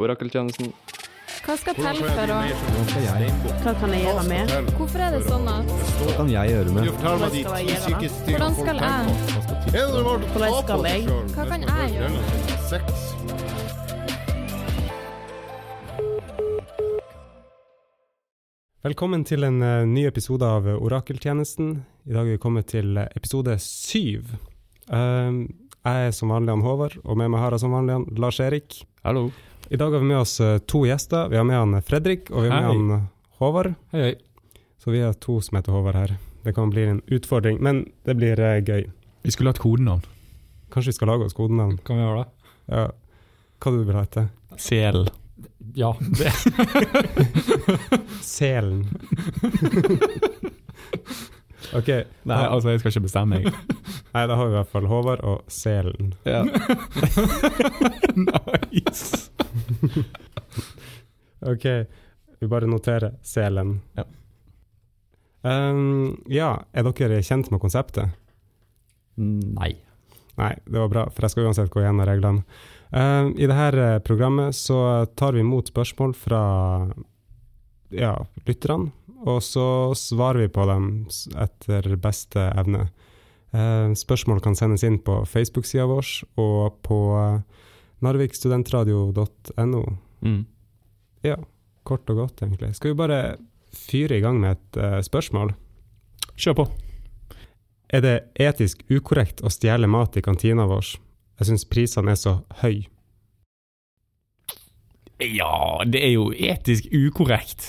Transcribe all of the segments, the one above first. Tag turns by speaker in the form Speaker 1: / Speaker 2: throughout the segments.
Speaker 1: orakeltjenesten.
Speaker 2: Hva skal til for å
Speaker 3: Hva skal jeg,
Speaker 2: Hva kan jeg gjøre med?
Speaker 4: Hvorfor er det sånn at
Speaker 3: hva kan jeg gjøre med?
Speaker 5: Fortell meg de
Speaker 2: Hva skal jeg
Speaker 5: ti
Speaker 2: gjøre?
Speaker 5: sykeste
Speaker 4: Hvordan skal jeg?
Speaker 3: Hva skal
Speaker 5: Er det
Speaker 3: tidsplanen?
Speaker 5: normalt å ta
Speaker 2: Hvordan
Speaker 5: på
Speaker 2: skal
Speaker 5: seg
Speaker 2: jeg?
Speaker 5: selv?
Speaker 4: Hva kan jeg
Speaker 5: gjøre? Sex.
Speaker 6: Velkommen til en eh, ny episode av Orakeltjenesten. I dag er vi kommet til eh, episode syv. Um, jeg er som vanlig han Håvard, og med meg har jeg som vanlig han Lars-Erik.
Speaker 1: Hallo.
Speaker 6: I dag har vi med oss eh, to gjester. Vi har med han Fredrik, og vi har
Speaker 1: Hei.
Speaker 6: med han eh, Håvard.
Speaker 1: Hei, hei.
Speaker 6: Så vi er to som heter Håvard her. Det kan bli en utfordring, men det blir eh, gøy.
Speaker 7: Vi skulle hatt kodenavn.
Speaker 6: Kanskje vi skal lage oss kodenavn?
Speaker 7: Kan vi gjøre det?
Speaker 6: Ja. Hva du vil du hete?
Speaker 7: Sel. Ja. Det.
Speaker 6: Selen. OK.
Speaker 7: Nei, altså, jeg skal ikke bestemme, jeg.
Speaker 6: Nei, da har vi i hvert fall Håvard og Selen.
Speaker 7: nice.
Speaker 6: Ok, vi bare noterer selen.
Speaker 7: Ja.
Speaker 6: Ehm, ja, er dere kjent med konseptet?
Speaker 7: Nei.
Speaker 6: Nei, det var bra, for jeg skal uansett gå gjennom reglene. Ehm, I dette programmet så tar vi imot spørsmål fra ja, lytterne, og så svarer vi på dem s- etter beste evne. Ehm, spørsmål kan sendes inn på Facebook-sida vår og på eh, narvikstudentradio.no.
Speaker 1: Mm.
Speaker 6: Ja, kort og godt, egentlig. Skal vi bare fyre i gang med et eh, spørsmål?
Speaker 7: Kjør på.
Speaker 6: Er det etisk ukorrekt å stjele mat i kantina vår? Jeg syns prisene er så høy.
Speaker 7: Ja, det er jo etisk ukorrekt.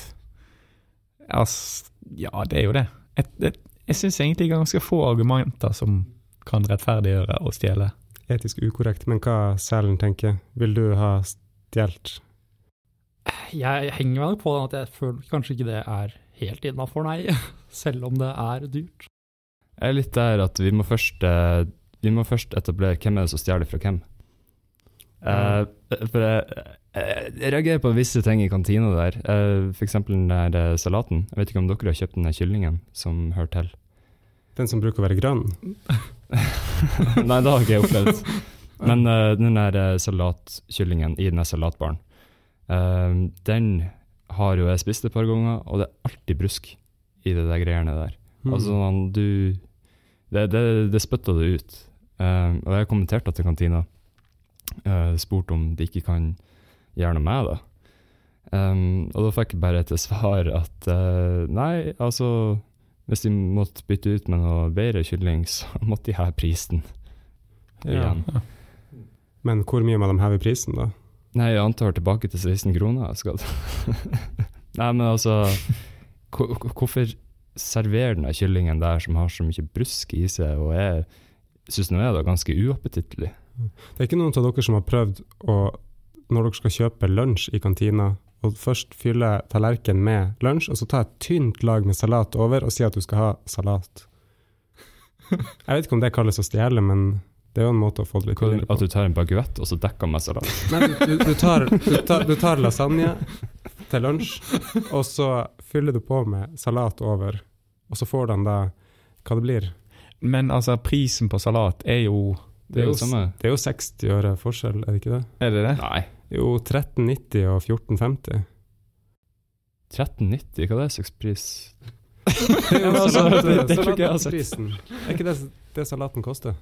Speaker 7: Altså, ja, det er jo det. Jeg, jeg, jeg syns egentlig det er ganske få argumenter som kan rettferdiggjøre å stjele.
Speaker 6: Etisk ukorrekt, men hva selen tenker? Vil du ha stjålet?
Speaker 8: Jeg henger meg nok på den at jeg føler kanskje ikke det er helt innafor, nei. Selv om det er dyrt.
Speaker 1: Jeg er litt der at vi må først, eh, vi må først etablere hvem er det som stjeler fra hvem. Eh, for jeg, jeg, jeg reagerer på visse ting i kantina der. Eh, for eksempel den der eh, salaten. Jeg vet ikke om dere har kjøpt den der kyllingen som hører til.
Speaker 6: Den som bruker å være grønn?
Speaker 1: Nei, det har ikke jeg opplevd. Men eh, den der eh, salatkyllingen i den der salatbaren, eh, den har jo jeg spist et par ganger, og det er alltid brusk i det der greiene der. Altså, han- du Det, det, det spytta det ut. Eh, og jeg kommenterte til kantina, uh, spurte om de ikke kan gjøre noe med det. Um, og da fikk jeg bare til svar at eh, nei, altså Hvis de måtte bytte ut med noe bedre kylling, så måtte de heve prisen
Speaker 6: Ja.
Speaker 1: igjen.
Speaker 6: Men hvor mye må de heve prisen, da?
Speaker 1: Nei, jeg antar tilbake til 16 kroner. jeg Skal. Nei, men altså ko- ko- Hvorfor serverer den der kyllingen der som har så mye brusk i seg, og jeg syns nå er det ganske uappetittlig?
Speaker 6: Det er ikke noen av dere som har prøvd å, når dere skal kjøpe lunsj i kantina, og først fylle tallerkenen med lunsj, og så ta et tynt lag med salat over og si at du skal ha salat. Jeg vet ikke om det kalles å stjele, men det er jo en måte å få det litt billigere
Speaker 1: At
Speaker 6: på.
Speaker 1: du tar en baguett og så dekker med salat?
Speaker 6: Nei, du, du, du, tar, du, tar, du tar lasagne til lunsj, og så fyller du på med salat over, og så får den da hva det blir.
Speaker 7: Men altså, prisen på salat er jo
Speaker 1: Det er jo det
Speaker 6: s-
Speaker 1: samme.
Speaker 6: det er jo 60 øre forskjell, er det ikke det?
Speaker 7: Er det det?
Speaker 1: Nei.
Speaker 6: Jo, 13,90 og 14,50.
Speaker 1: 13,90, hva er det slags pris?
Speaker 6: Det er jo
Speaker 7: Altså,
Speaker 6: salat-
Speaker 7: det- det tror ikke jeg har sett.
Speaker 6: salatprisen. Er ikke det det salaten koster?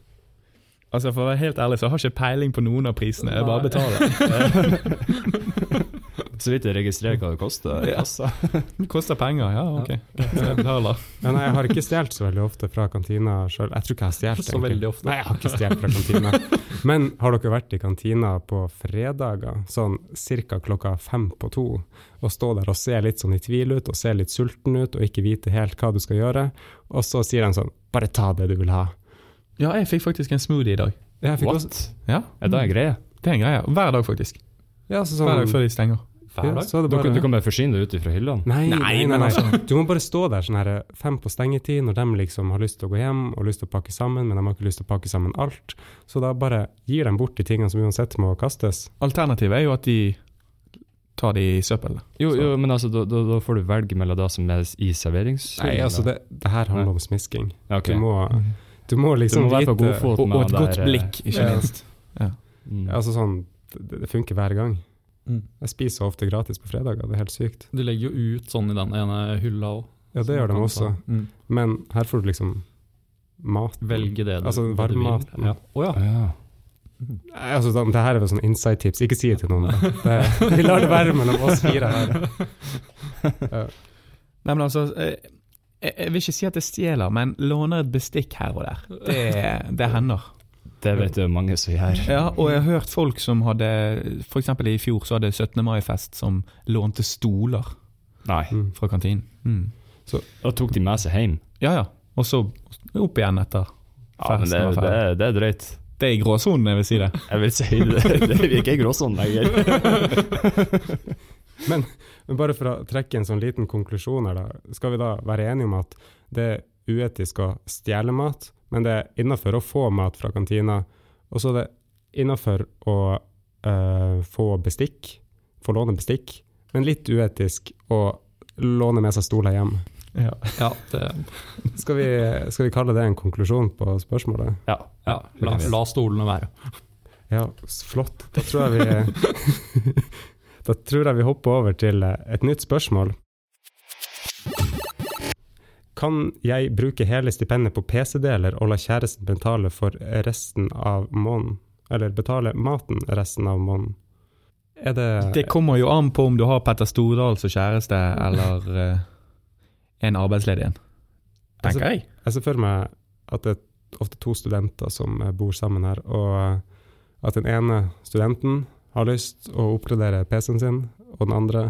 Speaker 7: Altså, For å være helt ærlig, så har jeg ikke peiling på noen av prisene. Jeg bare
Speaker 8: Nei.
Speaker 7: betaler.
Speaker 1: Så vidt jeg registrerer hva det koster.
Speaker 7: Ja.
Speaker 1: Altså.
Speaker 7: det koster penger, ja, ok. Jeg betaler.
Speaker 6: Ja, nei, jeg har ikke stjålet så veldig ofte fra kantina sjøl. Jeg tror ikke jeg har stjålet
Speaker 8: Så veldig ofte.
Speaker 6: Nei, jeg har ikke stjålet fra kantina. Men har dere vært i kantina på fredager, sånn ca. klokka fem på to, og stå der og se litt sånn i tvil ut, og se litt sulten ut, og ikke vite helt hva du skal gjøre, og så sier de sånn Bare ta det du vil ha.
Speaker 7: Ja, jeg fikk faktisk en smoothie i dag.
Speaker 6: Jeg fikk også,
Speaker 1: What?
Speaker 7: Ja,
Speaker 1: Er det en greie?
Speaker 7: Det er en greie. Hver dag, faktisk.
Speaker 6: ja, så
Speaker 7: Hver dag
Speaker 6: sånn,
Speaker 7: før de stenger.
Speaker 6: ja, så er det
Speaker 1: Du
Speaker 6: bare,
Speaker 1: kan, du kan bare forsyne deg ut ifra hyllene?
Speaker 6: Nei, nei, nei,
Speaker 7: men
Speaker 6: nei.
Speaker 7: altså.
Speaker 6: Du må bare stå der sånn her fem på stengetid, når de liksom har lyst til å gå hjem og lyst til å pakke sammen, men de har ikke lyst til å pakke sammen alt. Så da bare gir de bort de tingene som uansett må kastes.
Speaker 7: Alternativet er jo at de tar de i søppelet.
Speaker 1: Jo,
Speaker 7: Så-
Speaker 1: jo, men altså, da, da, da får du velge mellom det som er i serveringshyllene.
Speaker 6: Nei, altså, det, det her handler om smisking.
Speaker 1: Ja, ok.
Speaker 6: Du, må,
Speaker 7: Mm.
Speaker 6: du må
Speaker 1: du
Speaker 6: liksom
Speaker 1: må være på
Speaker 6: vite
Speaker 1: godfot
Speaker 7: Og,
Speaker 1: med
Speaker 7: og et
Speaker 1: det
Speaker 7: godt
Speaker 1: der, eh,
Speaker 7: blikk, ikke
Speaker 6: Ja.
Speaker 7: minst.
Speaker 1: Mm.
Speaker 6: Altså sånn, det, det funker hver gang.
Speaker 8: Mm.
Speaker 6: Jeg spiser ofte gratis på fredager, det er helt sykt.
Speaker 8: De legger jo ut sånn i den ene hylla òg.
Speaker 6: Ja, det gjør de også.
Speaker 8: Mm.
Speaker 6: Men her får du liksom mat.
Speaker 8: Velge det du
Speaker 6: Altså
Speaker 8: det du
Speaker 6: varmmat.
Speaker 8: vil. Ja. Å ja.
Speaker 1: Ja.
Speaker 6: Nei, Altså, sånn, det her er vel sånn inside-tips. Ikke si det til noen. da. Det, vi lar det være mellom oss fire her.
Speaker 7: Nei, men altså, eh, jeg, jeg vil ikke si at jeg stjeler, men låner et bestikk her og der. Det, det hender.
Speaker 1: Det vet du mange som gjør.
Speaker 7: Ja, og jeg har hørt folk som hadde For eksempel i fjor så hadde 17. mai-fest som lånte stoler
Speaker 1: Nei.
Speaker 6: Mm.
Speaker 7: fra kantinen. Mm.
Speaker 1: Da tok de med seg hjem.
Speaker 7: Ja, ja. Og så opp igjen etter.
Speaker 1: Ja, men det,
Speaker 7: Festen var
Speaker 1: det,
Speaker 7: ferdig.
Speaker 1: det er drøyt.
Speaker 7: Det er i gråsonen, jeg vil si det.
Speaker 1: Jeg vil si det, det er ikke gråsonen lenger.
Speaker 6: Men bare for å trekke en sånn liten konklusjon her, da. Skal vi da være enige om at det er uetisk å stjele mat, men det er innafor å få mat fra kantina, og så er det innafor å eh, få bestikk, få låne bestikk, men litt uetisk å låne med seg stoler hjem.
Speaker 7: Ja.
Speaker 8: ja det,
Speaker 6: Skal vi, skal vi kalle det en konklusjon på spørsmålet?
Speaker 1: Ja.
Speaker 8: ja. La, la stolene være.
Speaker 6: Ja, s- flott. Da tror jeg vi Da tror jeg vi hopper over til eh, et nytt spørsmål. Kan jeg bruke hele stipendet på PC-deler og la kjæresten betale for resten av måneden? Eller betale maten resten av måneden? Er det,
Speaker 7: Det kommer jo an på om du har Petter Stordal som kjæreste, eller eh, en arbeidsledig en.
Speaker 6: Altså-
Speaker 7: jeg.
Speaker 6: Jeg ser for meg at det er ofte to studenter som eh, bor sammen her, og eh, at den ene studenten har lyst å oppgradere PC-en sin, og den andre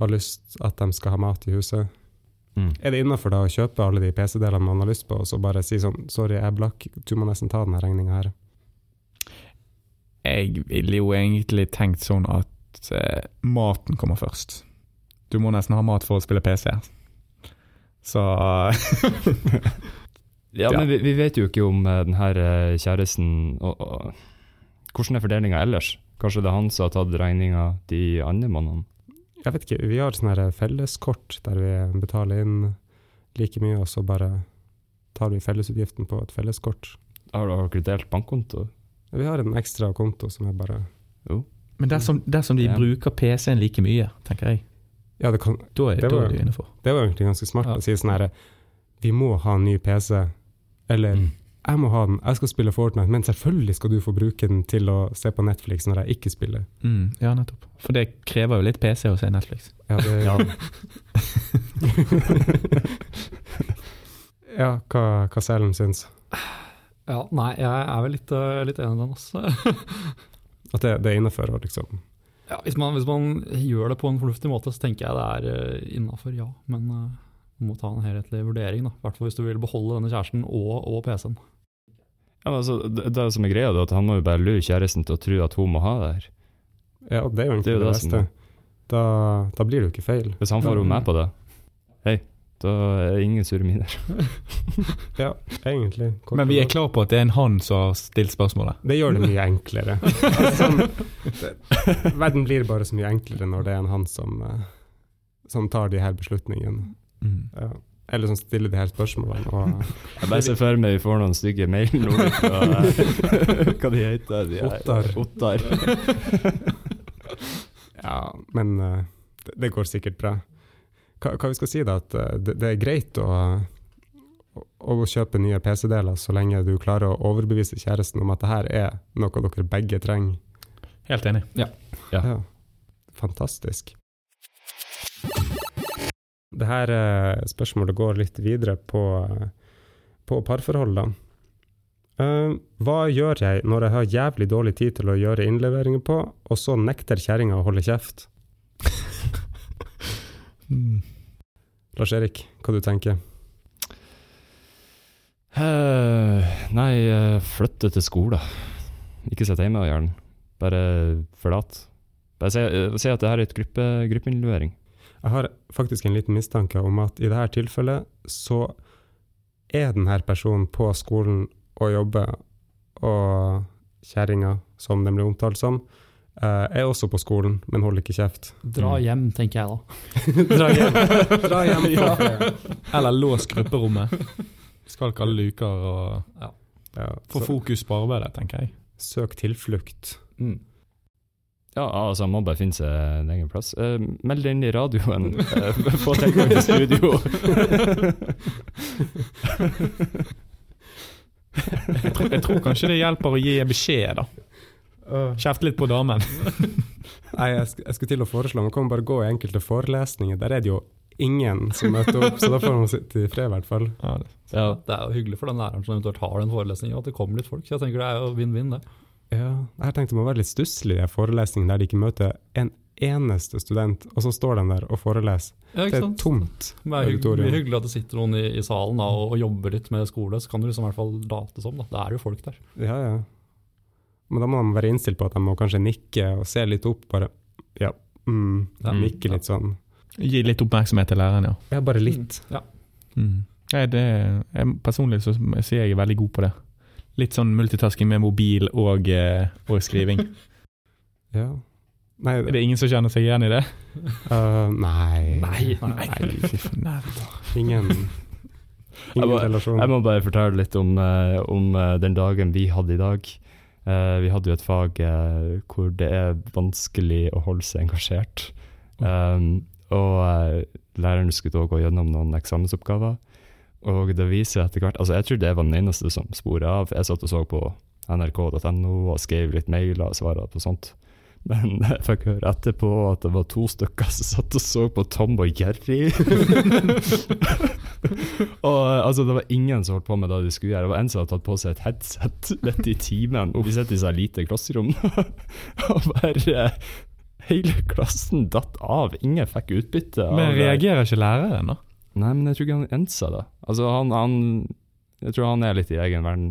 Speaker 6: har lyst at de skal ha mat i huset.
Speaker 1: Mm.
Speaker 6: Er det innafor å kjøpe alle de PC-delene man har lyst på, og så bare si sånn Sorry, jeg er blakk, du må nesten ta denne regninga her.
Speaker 7: Jeg ville jo egentlig tenkt sånn at eh, maten kommer først. Du må nesten ha mat for å spille PC. Så
Speaker 1: Ja, men vi, vi vet jo ikke om eh, den her eh, kjæresten og, og, Hvordan er fordelinga ellers? Kanskje det er han som har tatt regninga de andre månedene?
Speaker 6: Jeg vet ikke, vi har sånne her eh, felleskort der vi betaler inn like mye, og så bare tar vi fellesutgiften på et felleskort.
Speaker 1: Har har dere delt bankkonto?
Speaker 6: Vi har en ekstra konto som er bare
Speaker 7: Men dersom, dersom de
Speaker 1: Ja.
Speaker 7: bruker PC-en like mye, tenker jeg,
Speaker 6: Ja, det kan,
Speaker 7: da er
Speaker 6: Det
Speaker 7: det,
Speaker 6: var-
Speaker 7: da er du innenfor.
Speaker 6: Det var egentlig ganske smart
Speaker 8: Ja.
Speaker 6: å si sånn her Vi må ha en ny PC. Eller
Speaker 1: Mm.
Speaker 6: jeg må ha den, jeg skal spille Fortnite, men selvfølgelig skal du få bruke den til å se på Netflix når jeg ikke spiller.
Speaker 7: Mm, ja, nettopp. For det krever jo litt PC å se Netflix.
Speaker 6: Ja, det, ja. hva, hva Selen syns.
Speaker 8: Ja, nei, jeg er vel litt, eh, litt enig i den, altså.
Speaker 6: At det, det er innafor å liksom
Speaker 8: Ja, hvis, man, hvis man gjør det på en fornuftig måte, så tenker jeg det er innafor, ja. Men eh, du må ta en helhetlig vurdering, da. I hvert fall hvis du vil beholde denne kjæresten og, og PC-en.
Speaker 1: Ja, men altså, det, det som er greia, da, at han må jo bare lure kjæresten til å tro at hun må ha det her.
Speaker 6: Ja, og det
Speaker 1: Det er
Speaker 6: er jo egentlig
Speaker 1: jo
Speaker 6: det,
Speaker 1: det som-
Speaker 6: beste. Da, da blir det jo ikke feil.
Speaker 1: Hvis han får henne med på det, hei, da er det ingen sure miner.
Speaker 6: Ja, egentlig. Kort
Speaker 7: Men vi
Speaker 6: og
Speaker 7: er
Speaker 6: godt.
Speaker 7: klar på at det er en han som har stilt spørsmålet.
Speaker 6: Det gjør det mye enklere. Altså, sånn, det, verden blir bare så mye enklere når det er en han som, eh, som tar de her beslutningene.
Speaker 7: Mm.
Speaker 6: Ja. Eller sånn som stiller de her spørsmålene. Og
Speaker 1: Jeg bare ser for meg vi får noen stygge mail nå fra Hva de heter de? her?
Speaker 6: Ottar.
Speaker 1: Ottar.
Speaker 6: ja, men eh, det, det går sikkert bra. Hva, hva vi skal si da, at eh, det, det er greit å, å, å kjøpe nye PC-deler så lenge du klarer å overbevise kjæresten om at det her er noe dere begge trenger.
Speaker 7: Helt enig.
Speaker 1: Ja.
Speaker 6: Ja. Fantastisk. Det her eh, spørsmålet går litt videre på, eh, på parforhold, da. Eh, hva gjør jeg når jeg har jævlig dårlig tid til å gjøre innleveringer på, og så nekter kjerringa å holde kjeft?
Speaker 7: Mm.
Speaker 6: Lars-Erik, hva du tenker
Speaker 1: Eh, nei, eh, flytte til skolen. Ikke sitte hjemme og gjøre den. Bare forlat. Bare si, eh, si at det her er et gruppe, gruppeinnlevering.
Speaker 6: Jeg har faktisk en liten mistanke om at i dette tilfellet så er denne personen på skolen og jobber, og kjerringa, som den blir omtalt som, eh, er også på skolen, men holder ikke kjeft.
Speaker 8: Dra hjem, tenker jeg da.
Speaker 6: Dra hjem. Dra hjem.
Speaker 7: Eller lås grupperommet. Skal ikke alle luker og
Speaker 6: Ja,
Speaker 7: Få
Speaker 6: så,
Speaker 7: fokus på arbeidet, tenker jeg.
Speaker 6: søk tilflukt.
Speaker 1: Ja, altså må bare finne seg en egen plass. Eh, meld deg inn i radioen. eh,
Speaker 8: Mm.
Speaker 1: Få tilgang til studio.
Speaker 7: Jeg tror, jeg tror kanskje det hjelper å gi beskjed, da. Kjefte litt på damen.
Speaker 6: Nei, jeg, sk jeg skulle til å foreslå, man kan bare gå i enkelte forelesninger. Der er det jo ingen som møter opp, så da får man sitte i fred, i hvert fall.
Speaker 7: Ja, det-
Speaker 1: Ja.
Speaker 8: Det er jo hyggelig for den læreren som eventuelt har den forelesningen, at det kommer litt folk. Så jeg tenker det er jo vinn-vinn, det.
Speaker 6: Ja, jeg har tenkt det må være litt stusslig i forelesningen der de ikke møter en eneste student, og så står de der og foreleser.
Speaker 8: Ja,
Speaker 6: Det
Speaker 8: ikke
Speaker 6: er
Speaker 8: sant?
Speaker 6: tomt.
Speaker 8: Men Det er hygg-
Speaker 6: auditorium.
Speaker 8: mye hyggelig at det sitter noen i, i salen da, og, og jobber litt med skole, så kan du liksom i hvert fall late som. da. Det er jo folk der.
Speaker 6: Ja, ja. Men da må de være innstilt på at de må kanskje nikke og se litt opp, bare ja, mm,
Speaker 8: Ja.
Speaker 6: nikke litt sånn.
Speaker 7: Gi litt oppmerksomhet til læreren, ja.
Speaker 6: Ja, bare litt.
Speaker 7: Mm. Nei, det, jeg, personlig så sier jeg er veldig god på det. Litt sånn multitasking med mobil og, eh, og skriving.
Speaker 6: Mm. Ja. Nei,
Speaker 7: Er det ingen som kjenner seg igjen i det?
Speaker 6: øh, nei.
Speaker 7: Nei, fy faen, nei.
Speaker 6: Ingen,
Speaker 1: Jeg
Speaker 6: ingen
Speaker 1: må-
Speaker 6: relasjon.
Speaker 1: Jeg må bare fortelle litt om, eh, om eh, den dagen vi hadde i dag. Eh, vi hadde jo et fag eh, hvor det er vanskelig å holde seg engasjert. Um, og eh, læreren skulle da gå gjennom noen eksamensoppgaver. Og det viser etter hvert Altså, jeg trodde jeg var den eneste som sporet av. Jeg satt og så på nrk.no og skrev litt mailer og svarte på sånt. Men jeg fikk høre etterpå at det var to stykker som satt og så på Tom og Jerry. og eh, altså, det var ingen som holdt på med det de skulle gjøre. Det var en som hadde tatt på seg et headset midt i timen. Vi sitter i så lite klasserom. og bare eh, Hele klassen datt av. Ingen fikk utbytte. av
Speaker 7: Men
Speaker 1: det.
Speaker 7: reagerer ikke læreren, da?
Speaker 1: Nei, men jeg tror ikke han ensa det. Altså, han, han Jeg tror han er litt i egen verden.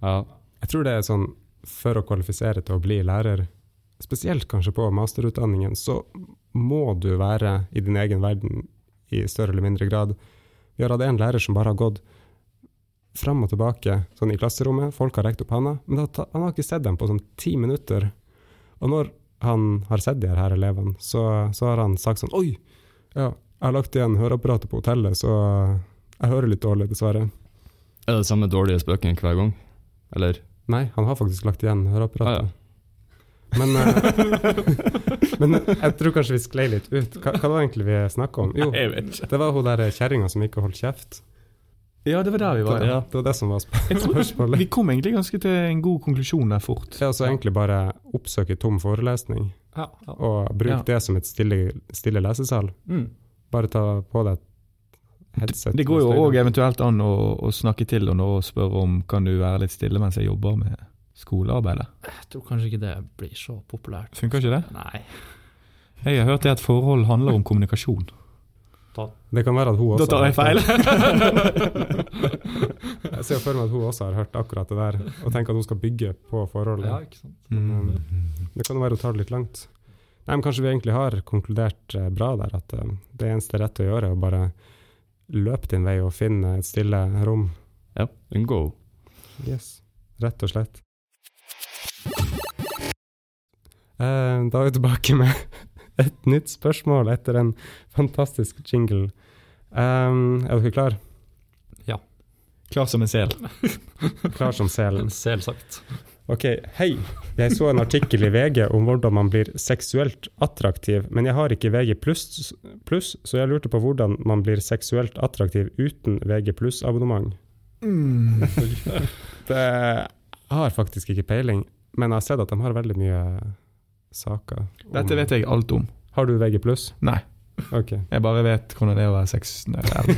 Speaker 1: Ja.
Speaker 6: Jeg tror det er sånn, for å kvalifisere til å bli lærer, spesielt kanskje på masterutdanningen, så må du være i din egen verden i større eller mindre grad. Vi har hatt en lærer som bare har gått fram og tilbake sånn i klasserommet, folk har rekt opp handa, men det har ta- han har ikke sett dem på sånn ti minutter. Og når han har sett de her elevene, så, så har han sagt sånn Oi, ja, jeg har lagt igjen høreapparatet på hotellet, så jeg hører litt dårlig, dessverre.
Speaker 1: Er det samme dårlige spøken hver gang? Eller?
Speaker 6: Nei, han har faktisk lagt igjen
Speaker 1: Ah,
Speaker 6: høreapparatet.
Speaker 1: ja.
Speaker 6: Men, eh, men jeg tror kanskje vi sklei litt ut. Hva, hva var det egentlig vi snakka om? Jo,
Speaker 7: Jeg vet ikke.
Speaker 6: det var hun der kjerringa som ikke holdt kjeft.
Speaker 7: Ja, det var der vi
Speaker 6: Det var,
Speaker 7: var. Ja.
Speaker 6: det, var det som var sp-
Speaker 7: Jeg tror-
Speaker 6: spørsmålet.
Speaker 7: Vi kom egentlig ganske til en god konklusjon der fort.
Speaker 6: Det er altså egentlig bare oppsøke tom forelesning,
Speaker 8: Ja, ja.
Speaker 6: og bruke
Speaker 7: Ja.
Speaker 6: det som et stille, stille lesesal.
Speaker 8: Mm.
Speaker 6: Bare ta på deg et headset.
Speaker 7: Det går jo
Speaker 6: med
Speaker 7: òg
Speaker 6: styre.
Speaker 7: eventuelt an å, å snakke til og, nå og spørre om kan du være litt stille mens jeg jobber med skolearbeidet.
Speaker 8: Jeg tror kanskje ikke det blir så populært.
Speaker 7: Funker ikke det?
Speaker 8: Nei.
Speaker 7: Jeg har hørt det at forhold handler om kommunikasjon.
Speaker 6: Det kan være at hun også har hørt
Speaker 7: feil.
Speaker 6: det. Jeg ser for meg at hun også har hørt akkurat det der, og tenker at hun skal bygge på forholdet.
Speaker 8: Ja, ikke sant?
Speaker 7: Mm.
Speaker 6: Det kan jo være å ta det litt langt. Nei, men Kanskje vi egentlig har konkludert eh, bra der, at eh, det eneste rette å gjøre er å bare løpe din vei og finne et stille rom.
Speaker 1: Ja. Unngå henne.
Speaker 6: Yes. Rett og slett. Eh, Da er vi tilbake med et nytt spørsmål etter en fantastisk jingle. Um, er dere klar?
Speaker 7: Klar som en sel.
Speaker 6: Klar som selen.
Speaker 8: Selvsagt.
Speaker 6: Ok, hei. Jeg så en artikkel i VG om hvordan man blir seksuelt attraktiv, men jeg har ikke VG pluss, pluss så jeg lurte på hvordan man blir seksuelt attraktiv uten VG pluss-abonnement.
Speaker 7: Mm.
Speaker 6: Det jeg har faktisk ikke peiling, men jeg har sett at de har veldig mye saker. om-
Speaker 7: Dette vet jeg alt om.
Speaker 6: Har du VG pluss?
Speaker 7: Nei,
Speaker 6: Ok.
Speaker 7: jeg bare vet hvordan det er å være sex... Nei, det er-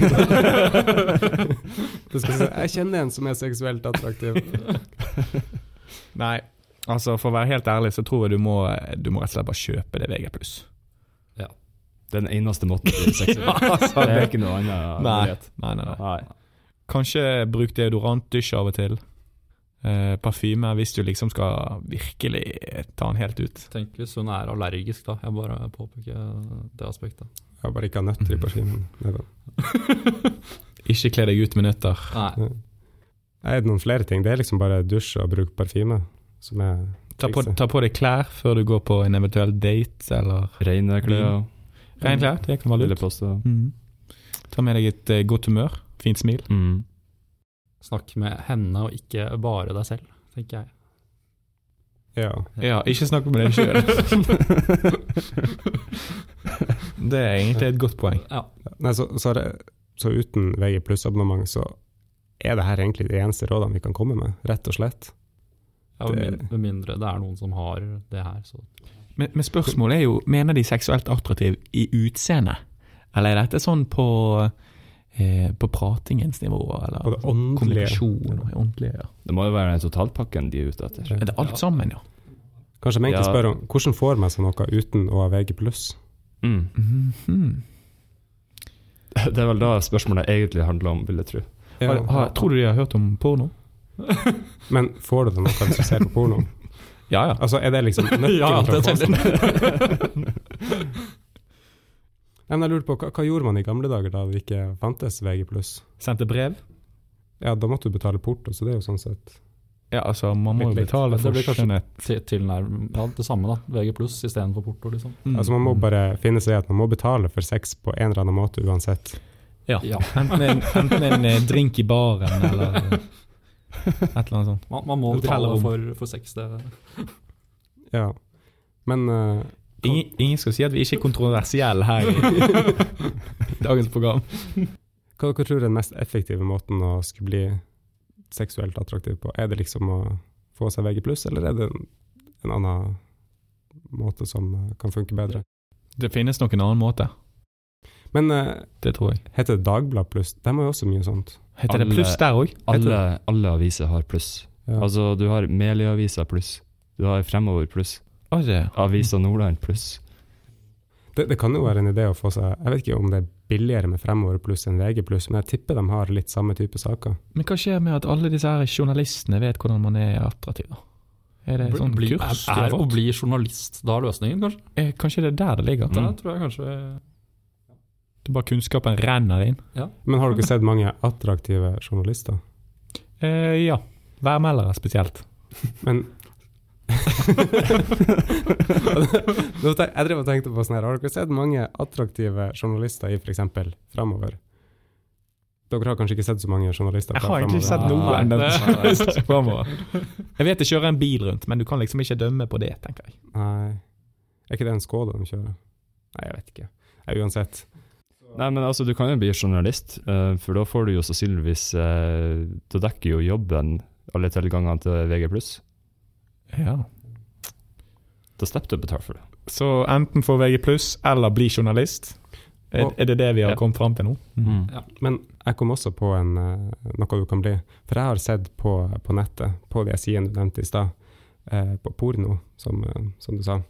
Speaker 6: Du skal si, jeg kjenner en som er seksuelt attraktiv.
Speaker 7: Nei, altså for å være helt ærlig så tror jeg du må, du må rett og slett bare kjøpe det VG+.
Speaker 1: Den eneste måten å bli seksuell
Speaker 7: Ja, altså,
Speaker 1: Det er
Speaker 7: det-
Speaker 1: ikke noe annet.
Speaker 7: Nei.
Speaker 1: mulighet.
Speaker 7: Nei, nei, nei.
Speaker 1: Nei.
Speaker 7: Kanskje bruk deodorant, dusj av og til. Eh, parfyme hvis du liksom skal virkelig ta den helt ut.
Speaker 8: Tenk hvis hun er allergisk, da. Jeg bare påpeker det aspektet.
Speaker 6: Jeg har bare ikke hatt nøtter i parfymen. Neida.
Speaker 7: Ikke kle deg ut med nøtter.
Speaker 8: Nei.
Speaker 6: Nei, Er det noen flere ting? Det er liksom bare dusj og bruke parfyme. Som er
Speaker 7: Ta på, ta på deg klær før du går på en eventuell date, eller Mm.
Speaker 1: Rene klær.
Speaker 7: Rene klær, det kan være
Speaker 1: Ville
Speaker 7: lurt.
Speaker 1: påstå.
Speaker 7: Mhm. Ta med deg et eh, godt humør, fint smil.
Speaker 1: Mm.
Speaker 8: Snakk med henne og ikke bare deg selv, tenker jeg.
Speaker 6: Ja.
Speaker 7: Ja, ikke snakk med deg sjøl. det er egentlig et godt poeng.
Speaker 8: Ja.
Speaker 6: Nei, så, så, er det, så uten VG abonnement så er det her egentlig de eneste rådene vi kan komme med, rett og slett.
Speaker 8: Ja, med,
Speaker 6: Det-
Speaker 8: min- med mindre det er noen som har det her, så
Speaker 7: Men, men spørsmålet er jo mener de seksuelt attraktiv i utseende, eller er dette sånn på, eh, på pratingens nivå,
Speaker 6: På det
Speaker 7: eller
Speaker 6: åndelige.
Speaker 7: kommunikasjon og åndelig ja.
Speaker 1: Det må jo være den totalpakken de er ute etter.
Speaker 7: Er det alt sammen, ja?
Speaker 6: Kanskje vi egentlig
Speaker 1: Ja.
Speaker 6: spør om hvordan får man seg noe uten å ha VG
Speaker 1: Mm.
Speaker 7: Mhm.
Speaker 1: Det er vel da spørsmålet egentlig handler om, vil jeg tro.
Speaker 7: Har, har, tror du de har hørt om porno?
Speaker 6: Men får du det noe hvis du ser på porno?
Speaker 7: Ja, ja.
Speaker 6: Altså, er det liksom nøkkelen
Speaker 7: Ja,
Speaker 6: til å
Speaker 7: det
Speaker 6: få
Speaker 7: er
Speaker 6: seg Nei, men jeg lurer på, hva, hva gjorde man i gamle dager da det ikke fantes VG+.
Speaker 7: Sendte brev?
Speaker 6: Ja, da måtte du betale porto, så det er jo sånn sett
Speaker 7: Ja, altså, man må
Speaker 6: Litt litt.
Speaker 7: jo betale
Speaker 8: Det
Speaker 7: for
Speaker 8: blir kanskje-
Speaker 7: skjønnhet.
Speaker 8: til- tilnærm... Ja, det samme, da. VG pluss istedenfor porto, liksom.
Speaker 7: Mm.
Speaker 6: Altså, man må bare finne seg i at man må betale for sex på en eller annen måte uansett.
Speaker 7: Ja.
Speaker 8: Ja.
Speaker 7: Enten, en, enten en eh, drink i baren, eller eh, et eller annet sånt.
Speaker 8: Man, man må betale
Speaker 7: Hotellrom.
Speaker 8: for, for sex, det
Speaker 6: Ja. Men eh,
Speaker 7: Ingen, ingen skal si at vi ikke er kontroversielle her i dagens program.
Speaker 6: hva dere tror er den mest effektive måten å skulle bli seksuelt attraktiv på? Er det liksom å få seg VG+, eller er det en, en annen måte som eh, kan funke bedre?
Speaker 7: Det finnes nok en annen måte.
Speaker 6: Men eh,
Speaker 7: Det tror jeg.
Speaker 6: heter det Dagblad pluss? De har jo også mye sånt.
Speaker 7: Heter det
Speaker 1: Alle-
Speaker 7: pluss der òg?
Speaker 1: Alle, alle aviser har pluss.
Speaker 6: Ja.
Speaker 1: Altså, du har Meløy-avisa pluss. Du har Fremover pluss. Avisa Nordland pluss.
Speaker 6: Det, det kan jo være en idé å få seg Jeg vet ikke om det er billigere med Fremover pluss enn VG pluss, men jeg tipper de har litt samme type saker.
Speaker 7: Men hva skjer med at alle disse her journalistene vet hvordan man er attraktiv? da? Er det sånn
Speaker 8: bli,
Speaker 7: kurs?
Speaker 8: er, er
Speaker 7: eller
Speaker 8: å
Speaker 7: hva?
Speaker 8: bli journalist da er løsningen, kanskje?
Speaker 7: Eh, Kanskje det er der det ligger?
Speaker 8: Det
Speaker 1: Mm.
Speaker 8: tror jeg kanskje
Speaker 7: Det er bare kunnskapen renner inn?
Speaker 6: Men har dere sett mange attraktive journalister?
Speaker 7: Eh, ja. Værmeldere spesielt.
Speaker 6: Men Nå tenk- Jeg drev og tenkte på sånn her, har dere sett mange attraktive journalister i f.eks. Fremover? Dere har kanskje ikke sett så mange journalister?
Speaker 7: Jeg
Speaker 6: fra
Speaker 7: har egentlig ikke
Speaker 6: Fremover.
Speaker 7: sett noe
Speaker 8: Nei,
Speaker 7: enn den
Speaker 8: det-
Speaker 7: journalisten fremover. Jeg vet det kjører en bil rundt, men du kan liksom ikke dømme på det, tenker jeg.
Speaker 6: Nei. Er ikke det en skål de kjører? Nei, jeg vet ikke. Nei, uansett.
Speaker 1: Nei, men altså, du kan jo bli journalist, eh, for da får du jo sannsynligvis eh, Da dekker jo jobben alle tilgangene til VG+.
Speaker 7: Ja.
Speaker 1: Da slipper du å betale for det.
Speaker 7: Så enten få VG+, eller bli journalist. Er,
Speaker 6: Og-
Speaker 7: er det det vi har
Speaker 1: Ja.
Speaker 7: kommet fram til nå?
Speaker 1: Mm.
Speaker 6: Men jeg kom også på en, eh, noe du kan bli. For jeg har sett på, på nettet, på de sidene du nevnte i stad, eh, på porno, som, eh, som du sa.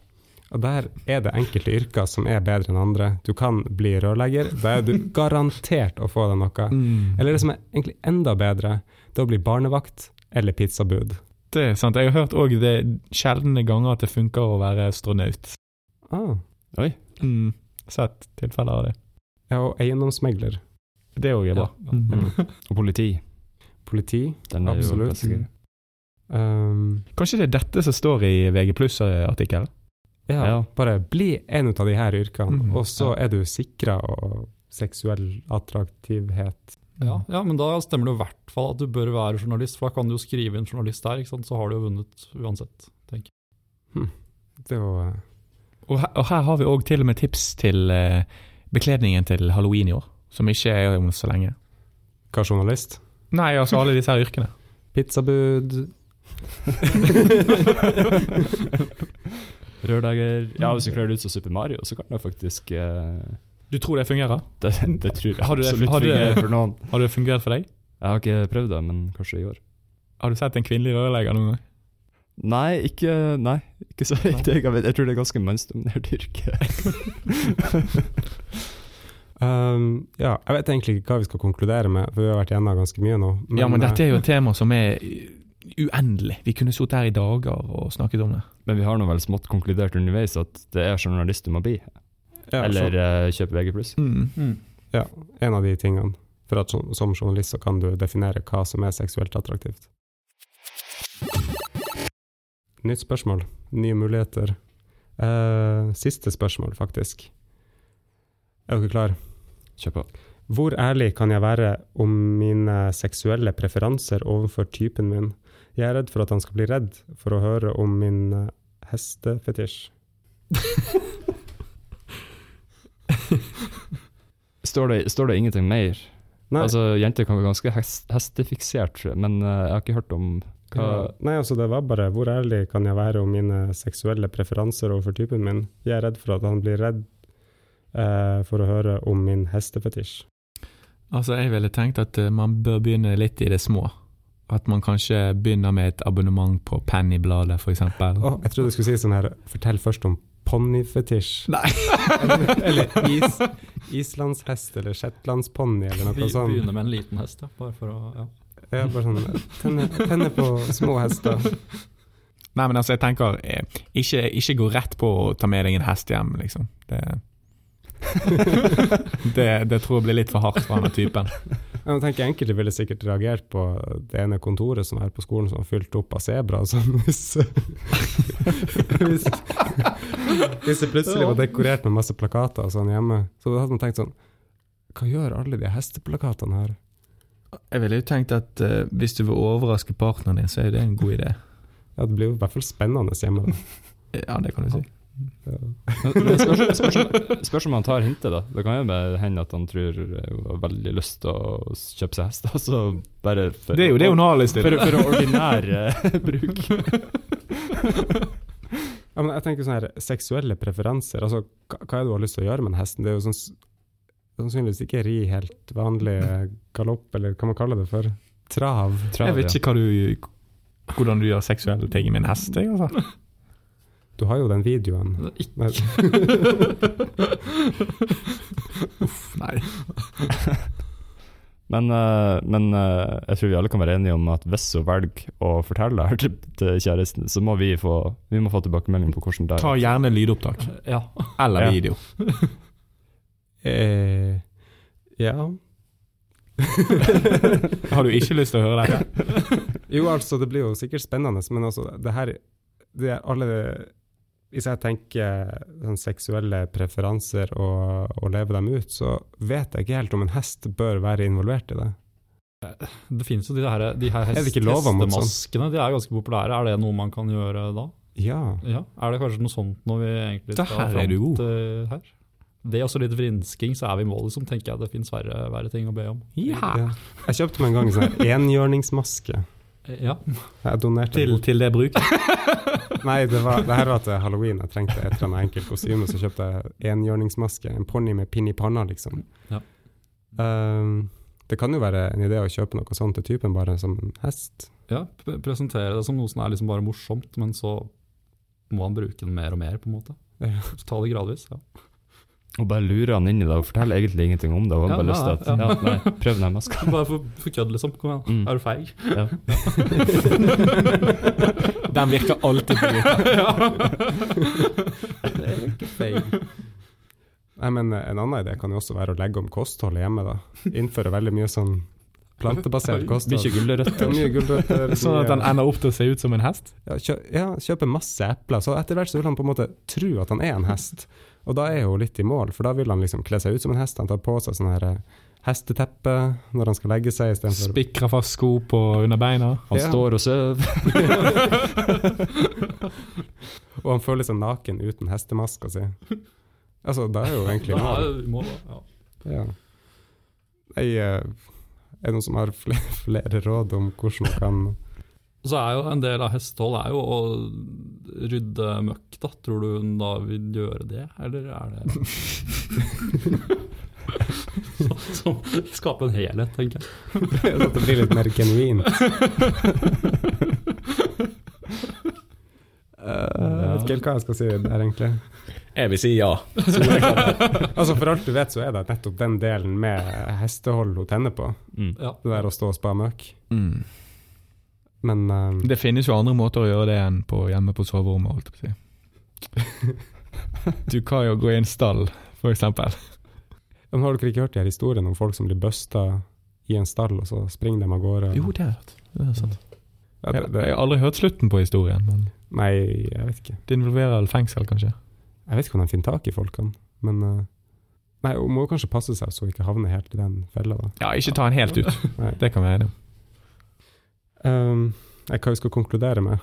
Speaker 6: Og der er det enkelte yrker som er bedre enn andre. Du kan bli rørlegger, da er du garantert å få deg noe.
Speaker 7: Mm.
Speaker 6: Eller det som er egentlig enda bedre, det er å bli barnevakt eller pizzabud.
Speaker 7: Det er sant. Jeg har hørt òg det sjeldne ganger at det funker å være astronaut.
Speaker 6: Ah,
Speaker 7: Mm. Sett tilfeller av det.
Speaker 6: ja, og eiendomsmegler.
Speaker 7: Det òg er bra.
Speaker 8: Ja.
Speaker 7: Mm.
Speaker 1: Og politi.
Speaker 6: Politi.
Speaker 1: Den er
Speaker 6: Absolutt.
Speaker 1: jo ganske-
Speaker 6: Um,
Speaker 7: Kanskje det er dette som står i VG artikkelen
Speaker 6: ja,
Speaker 1: Ja.
Speaker 6: bare bli en ut av de her yrkene,
Speaker 7: Mhm.
Speaker 6: og så er du sikra og seksuell attraktivhet.
Speaker 8: Ja, ja, men da stemmer det i hvert fall at du bør være journalist, for da kan du jo skrive inn journalist der, ikke sant? så har du jo vunnet uansett. tenker jeg.
Speaker 6: Det var
Speaker 7: Og, her- og her har vi òg til og med tips til eh, bekledningen til halloween i år, som ikke er om så lenge.
Speaker 6: Hva journalist?
Speaker 7: Nei, altså alle disse her yrkene.
Speaker 6: Pizzabud.
Speaker 1: Rørlegger Ja, hvis du kler deg ut som Super Mario, så kan du faktisk eh,
Speaker 7: Du tror det fungerer?
Speaker 1: det, det tror jeg
Speaker 7: Har du det-
Speaker 1: absolutt
Speaker 7: har du-
Speaker 1: fungerer for noen.
Speaker 7: Har det fungert for deg?
Speaker 1: Jeg har ikke prøvd det, men kanskje i år.
Speaker 7: Har du sett en kvinnelig rørlegger noen gang?
Speaker 1: Nei, ikke, nei, ikke så vidt jeg vet. Jeg tror det er ganske mannsdominert yrke.
Speaker 6: Um, ja, jeg vet egentlig ikke hva vi skal konkludere med, for vi har vært gjennom ganske mye nå.
Speaker 7: ja, men dette er jo et tema som er uendelig. Vi kunne sittet her i dager og snakket om det.
Speaker 1: Men vi har nå vel smått konkludert underveis at det er journalist du må bli,
Speaker 6: ja,
Speaker 1: eller eh, kjøpe VG+.
Speaker 7: Mm.
Speaker 6: så- Ja, eh, en av de tingene. For at som, som journalist så kan du definere hva som er seksuelt attraktivt. Nytt spørsmål. Nye muligheter. Eh, siste spørsmål, faktisk. Er dere klar?
Speaker 1: Kjøp på.
Speaker 6: Hvor ærlig kan jeg være om mine seksuelle preferanser overfor typen min? Jeg er redd for at han skal bli redd for å høre om min eh, hestefetisj.
Speaker 1: Står det, står det ingenting mer?
Speaker 6: Nei,
Speaker 1: Altså, Jenter kan være ganske hest, hestefiksert, tror jeg, men eh, jeg har ikke hørt om hva
Speaker 6: ja. nei, altså det var bare hvor ærlig kan jeg være om mine seksuelle preferanser overfor typen min? Jeg er redd for at han blir redd eh, for å høre om min hestefetisj.
Speaker 7: Altså, jeg ville tenkt at eh, man bør begynne litt i det små. At man kanskje begynner med et abonnement på Pennybladet, for eksempel.
Speaker 6: Å, jeg trodde du skulle si sånn her Fortell først om ponnifetisj.
Speaker 7: Nei.
Speaker 6: Eller is, islandshest eller shetlandsponni eller noe
Speaker 8: Vi
Speaker 6: sånt.
Speaker 7: sånn-
Speaker 8: begynner med en liten hest, ja. Bare for å ja.
Speaker 6: Ja, bare sånn tenne, tenne på små hester.
Speaker 7: Nei, men altså, jeg tenker eh, ikke, ikke gå rett på å ta med deg en hest hjem, liksom. Det, det, det tror jeg blir litt for hardt for denne typen.
Speaker 6: Jeg tenker Enkelte ville sikkert reagert på det ene kontoret som er på skolen som var fylt opp av sebraer. Sånn, hvis, hvis, hvis det plutselig var dekorert med masse plakater og sånn hjemme. Så da hadde man tenkt sånn Hva gjør alle de hesteplakatene her?
Speaker 7: Jeg ville jo tenkt at eh, hvis du vil overraske partneren din, så er det en god idé.
Speaker 6: Ja, Det blir jo i hvert fall spennende hjemme. da.
Speaker 7: Ja, det kan du
Speaker 6: Ja.
Speaker 7: si.
Speaker 1: Men- men Spørs spørs om- spørs om han tar hintet, da. Det kan jo bare hende at han tror hun har veldig lyst til å kjøpe seg hest. Altså, bare for,
Speaker 7: Det er jo det hun har lyst
Speaker 1: For,
Speaker 7: til.
Speaker 1: for ordinær eh, bruk.
Speaker 6: Ja, men jeg tenker sånn her, Seksuelle preferanser. altså Hva hva er det du har lyst til å gjøre med den hesten? Det er jo sånn, s- sannsynligvis ikke ri helt vanlig eh, galopp, eller hva man kaller det for. Trav.
Speaker 7: Jeg vet ikke hva du, hvordan du gjør seksuelle ting med en hest. Jeg, altså.
Speaker 6: Du har jo den videoen. Nei,
Speaker 7: Nei.
Speaker 1: Men, eh, men eh, jeg tror vi alle kan være enige om at hvis hun velger å fortelle det her til, til kjæresten, så må vi få, vi må få tilbakemelding på hvordan det
Speaker 7: Ta
Speaker 1: er.
Speaker 7: gjerne lydopptak
Speaker 8: ja.
Speaker 7: eller
Speaker 1: Ja.
Speaker 7: video.
Speaker 6: eh, ja.
Speaker 7: Har du ikke lyst til å høre dette?
Speaker 6: Jo, altså, det blir jo sikkert spennende, men altså, det her det er alle, Hvis jeg tenker sånn seksuelle preferanser og, og leve dem ut, så vet jeg ikke helt om en hest bør være involvert i det.
Speaker 8: Det finnes jo de her, de her
Speaker 6: Er
Speaker 8: hest,
Speaker 6: det ikke lov om noe
Speaker 8: hestemaskene, de er ganske populære. Er det noe man kan gjøre da?
Speaker 6: Ja.
Speaker 8: Ja, Er det kanskje noe sånt når vi egentlig
Speaker 7: Der er
Speaker 8: fram
Speaker 7: du god.
Speaker 8: til her? Det er også litt vrinsking, så er vi i mål, liksom. Tenker jeg det finnes verre, verre ting å be om.
Speaker 7: Ja.
Speaker 6: Ja. Jeg kjøpte meg en gang en sånn her enhjørningsmaske.
Speaker 8: Eh, Ja,
Speaker 6: Jeg donerte
Speaker 7: Til,
Speaker 6: den bort.
Speaker 7: til det bruket.
Speaker 6: Nei, det, var, det her var til halloween. Jeg trengte et eller annet enkelt kostyme, så kjøpte jeg enhjørningsmaske. En ponni med pinn i panna, liksom.
Speaker 8: Ja.
Speaker 6: Ehm, det kan jo være en idé å kjøpe noe sånt til typen, bare som en hest.
Speaker 8: ja p- Presentere det som noe som er liksom bare morsomt, men så må han bruke den mer og mer, på en måte.
Speaker 6: Ja.
Speaker 8: Så Ta det gradvis. ja.
Speaker 1: Og bare lure han inn i det, og fortelle egentlig ingenting om det. Og han
Speaker 8: Ja,
Speaker 1: bare lyst til at,
Speaker 8: ja, ja.
Speaker 1: ja, nei, prøv den her maska.
Speaker 8: Bare for, for kødd, liksom. Kom igjen,
Speaker 1: Mm.
Speaker 8: er du feig?
Speaker 1: Ja.
Speaker 7: Den virker alltid på lyden.
Speaker 6: Nei, men En annen idé kan jo også være å legge om kostholdet hjemme. da. Innføre veldig mye sånn plantebasert kosthold.
Speaker 1: Mye
Speaker 6: Ja,
Speaker 1: gulrøtter.
Speaker 6: Mye gulrøtter.
Speaker 7: Sånn at
Speaker 6: mye-
Speaker 7: den ender opp til å se ut som en hest.
Speaker 6: ja, kjø, ja, kjøpe masse epler. Så etter hvert så vil han på en måte tro at han er en hest. Og da er hun litt i mål, for da vil han liksom kle seg ut som en hest. Han tar på seg sånn her eh, hesteteppe når han skal legge seg istedenfor
Speaker 7: Spikrer fast sko på under beina.
Speaker 1: Han
Speaker 6: Ja.
Speaker 1: står og sover.
Speaker 6: Og han føler seg naken uten hestemaska si. Altså, da er jo egentlig
Speaker 8: Ja,
Speaker 6: mål.
Speaker 8: vi må, ja.
Speaker 6: Ja. Nei, eh, er det noen som har flere, flere råd om hvordan man kan
Speaker 8: Så er jo En del av hestehold er jo å rydde møkk, da. Tror du hun da vil gjøre det, eller er det Sånn som skaper en helhet, tenker jeg.
Speaker 6: Sånn at det blir litt mer genuint. jeg vet ikke helt hva jeg skal si der, egentlig.
Speaker 7: Jeg vil si ja.
Speaker 6: Altså For alt du vet, så er det nettopp den delen med hestehold hun tenner på.
Speaker 1: Mm.
Speaker 8: Ja.
Speaker 6: Det der å stå og spa møkk. Men eh,
Speaker 7: Mm. Det finnes jo andre måter å gjøre det enn på hjemme på soverommet. Holdt jeg på å si. Du kan jo gå i en stall, for eksempel.
Speaker 6: men har dere ikke hørt de her historiene om folk som blir busta i en stall, og så springer de av gårde?
Speaker 7: det har jeg hørt. Det er sant.
Speaker 6: Ja,
Speaker 7: Jeg,
Speaker 6: det, det,
Speaker 7: jeg har aldri hørt slutten på historien, men
Speaker 6: nei, jeg vet ikke.
Speaker 7: det involverer vel fengsel, kanskje.
Speaker 6: Jeg vet ikke om de finner tak i folkene, men eh, Nei, hun må kanskje passe seg så hun ikke havner helt i den fella, da.
Speaker 7: Ja, ikke ta den helt ut.
Speaker 6: Nei.
Speaker 7: Det kan være det.
Speaker 6: Um, eh, hva vi skal konkludere med.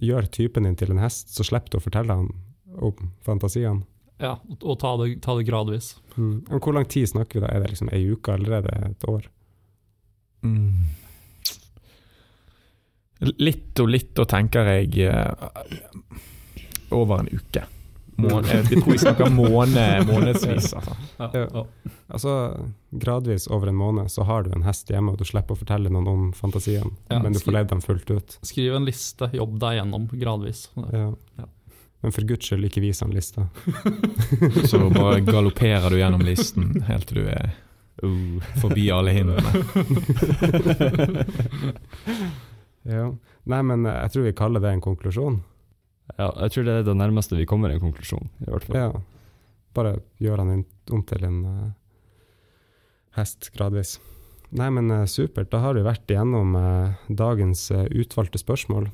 Speaker 6: Gjør typen din til en hest, så slipper du å fortelle han om fantasiene.
Speaker 8: Ja, og- og ta det, ta det gradvis.
Speaker 6: Mm. Om hvor lang tid snakker vi da? Er det liksom ei uke allerede? Et år?
Speaker 7: Mm. Litt og litt og tenker jeg eh, over en uke. Mån, jeg, vet- jeg tror jeg snakker måned, månedsvis. Altså.
Speaker 8: Ja,
Speaker 6: Ja.
Speaker 8: ja.
Speaker 6: Altså, gradvis over en måned så har du en hest hjemme, og du slipper å fortelle noen om fantasien,
Speaker 8: Ja,
Speaker 6: men du
Speaker 8: skri-
Speaker 6: får levd dem fullt ut.
Speaker 8: Skriv en liste, jobb deg gjennom gradvis.
Speaker 6: Ja.
Speaker 8: Ja.
Speaker 6: Men for guds skyld, ikke vis han lista.
Speaker 7: Så bare galopperer du gjennom listen helt til du er
Speaker 1: Uh.
Speaker 7: forbi alle hindrene.
Speaker 6: Ja. Nei, men eh, jeg tror vi kaller det en konklusjon.
Speaker 1: Ja, jeg tror det er det nærmeste vi kommer en konklusjon, i hvert fall.
Speaker 6: Ja. Bare gjør han en, om til en eh, hest gradvis. Nei, men eh, supert. Da har vi vært igjennom eh, dagens eh, utvalgte spørsmål.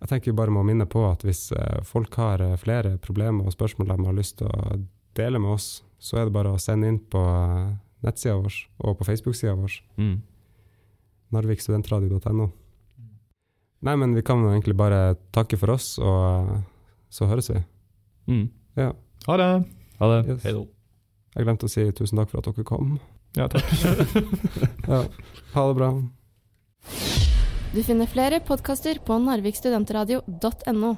Speaker 6: Jeg tenker vi bare må minne på at hvis eh, folk har eh, flere problemer og spørsmål de har lyst til å dele med oss, så er det bare å sende inn på eh, nettsida vår og på Facebook-sida vår,
Speaker 1: Mm.
Speaker 6: narvikstudentradio.no. Nei, men vi kan jo egentlig bare takke for oss, og eh, så høres vi.
Speaker 1: Mm.
Speaker 6: Ja.
Speaker 7: Ha det!
Speaker 1: Ha det.
Speaker 6: Yes.
Speaker 8: Hei då.
Speaker 6: Jeg glemte å si tusen takk for at dere kom.
Speaker 7: Ja, takk.
Speaker 6: Ja. Ha det bra.
Speaker 2: Du finner flere podkaster på narvikstudentradio.no.